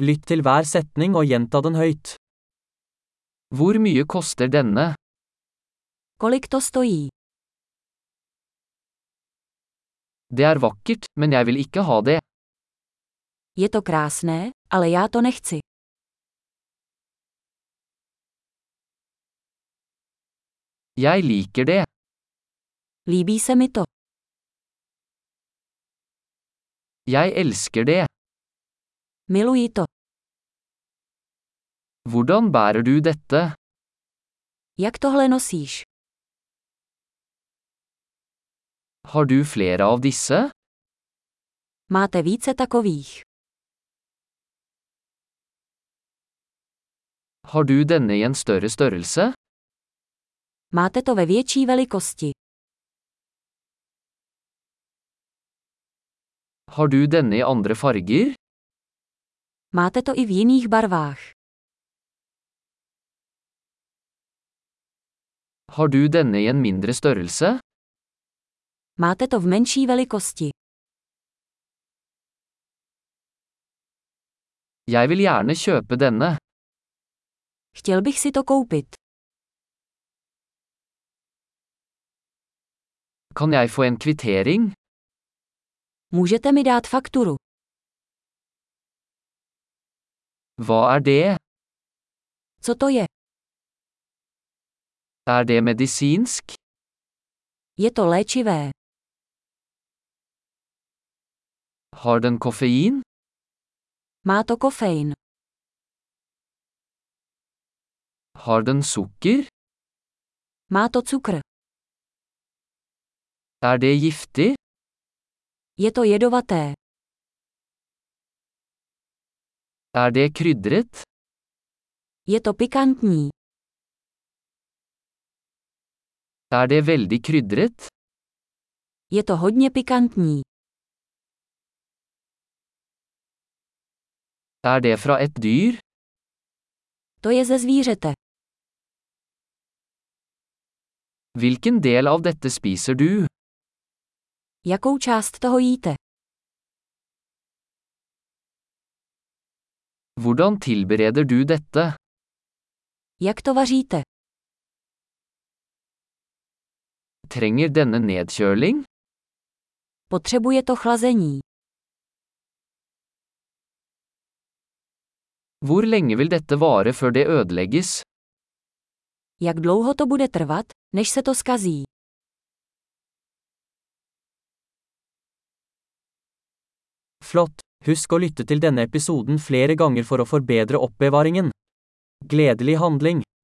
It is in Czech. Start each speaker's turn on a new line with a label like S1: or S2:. S1: Lytt til hver setning og gjenta den høyt.
S2: Hvor mye koster denne?
S3: Kolik to stojí?
S2: Det er vakkert, men jeg vil ikke ha det.
S3: Je to krásné, ale já to nechci.
S2: Jeg liker det.
S3: Líbí se mi to.
S2: Jeg elsker det.
S3: Miluji to.
S2: Hvordan bærer du dette?
S3: Jak tohle nosíš?
S2: Har du flere av disse?
S3: Máte více takových.
S2: Har du denne i en større størrelse?
S3: Máte to ve větší velikosti.
S2: Har du denne i andre farger?
S3: Máte to i v jiných barvách.
S2: Har du denne i en mindre størrelse?
S3: Máte to v menší velikosti.
S2: Jeg vil gjerne kjøpe denne.
S3: Chtěl bych si to koupit.
S2: Kan jeg få en kvittering?
S3: Můžete mi dát fakturu.
S2: Hva er det?
S3: Co to je?
S2: Er det medisinsk?
S3: Je to léčivé.
S2: Har den koffein?
S3: Má to kofein.
S2: Har den sukker?
S3: Má to cukr.
S2: Er det giftig?
S3: Je to jedovaté.
S2: Er det krydret?
S3: Je to pikantní.
S2: Er det veldig krydret?
S3: Je to hodně pikantní.
S2: Er det fra et dyr?
S3: To je ze zvířete.
S2: Hvilken del av dette spiser du?
S3: Jakou část toho jíte?
S2: Hvordan tilbereder du dette?
S3: Jak to vaříte?
S2: Trenger denne nedkjøling?
S3: Potřebuje to chlazení.
S2: Hvor lenge vil dette vare før det ødelegges?
S3: Jak dlouho to bude trvat, než se to skazí?
S1: Flott! Husk å lytte til denne episoden flere ganger for å forbedre oppbevaringen. Gledelig handling!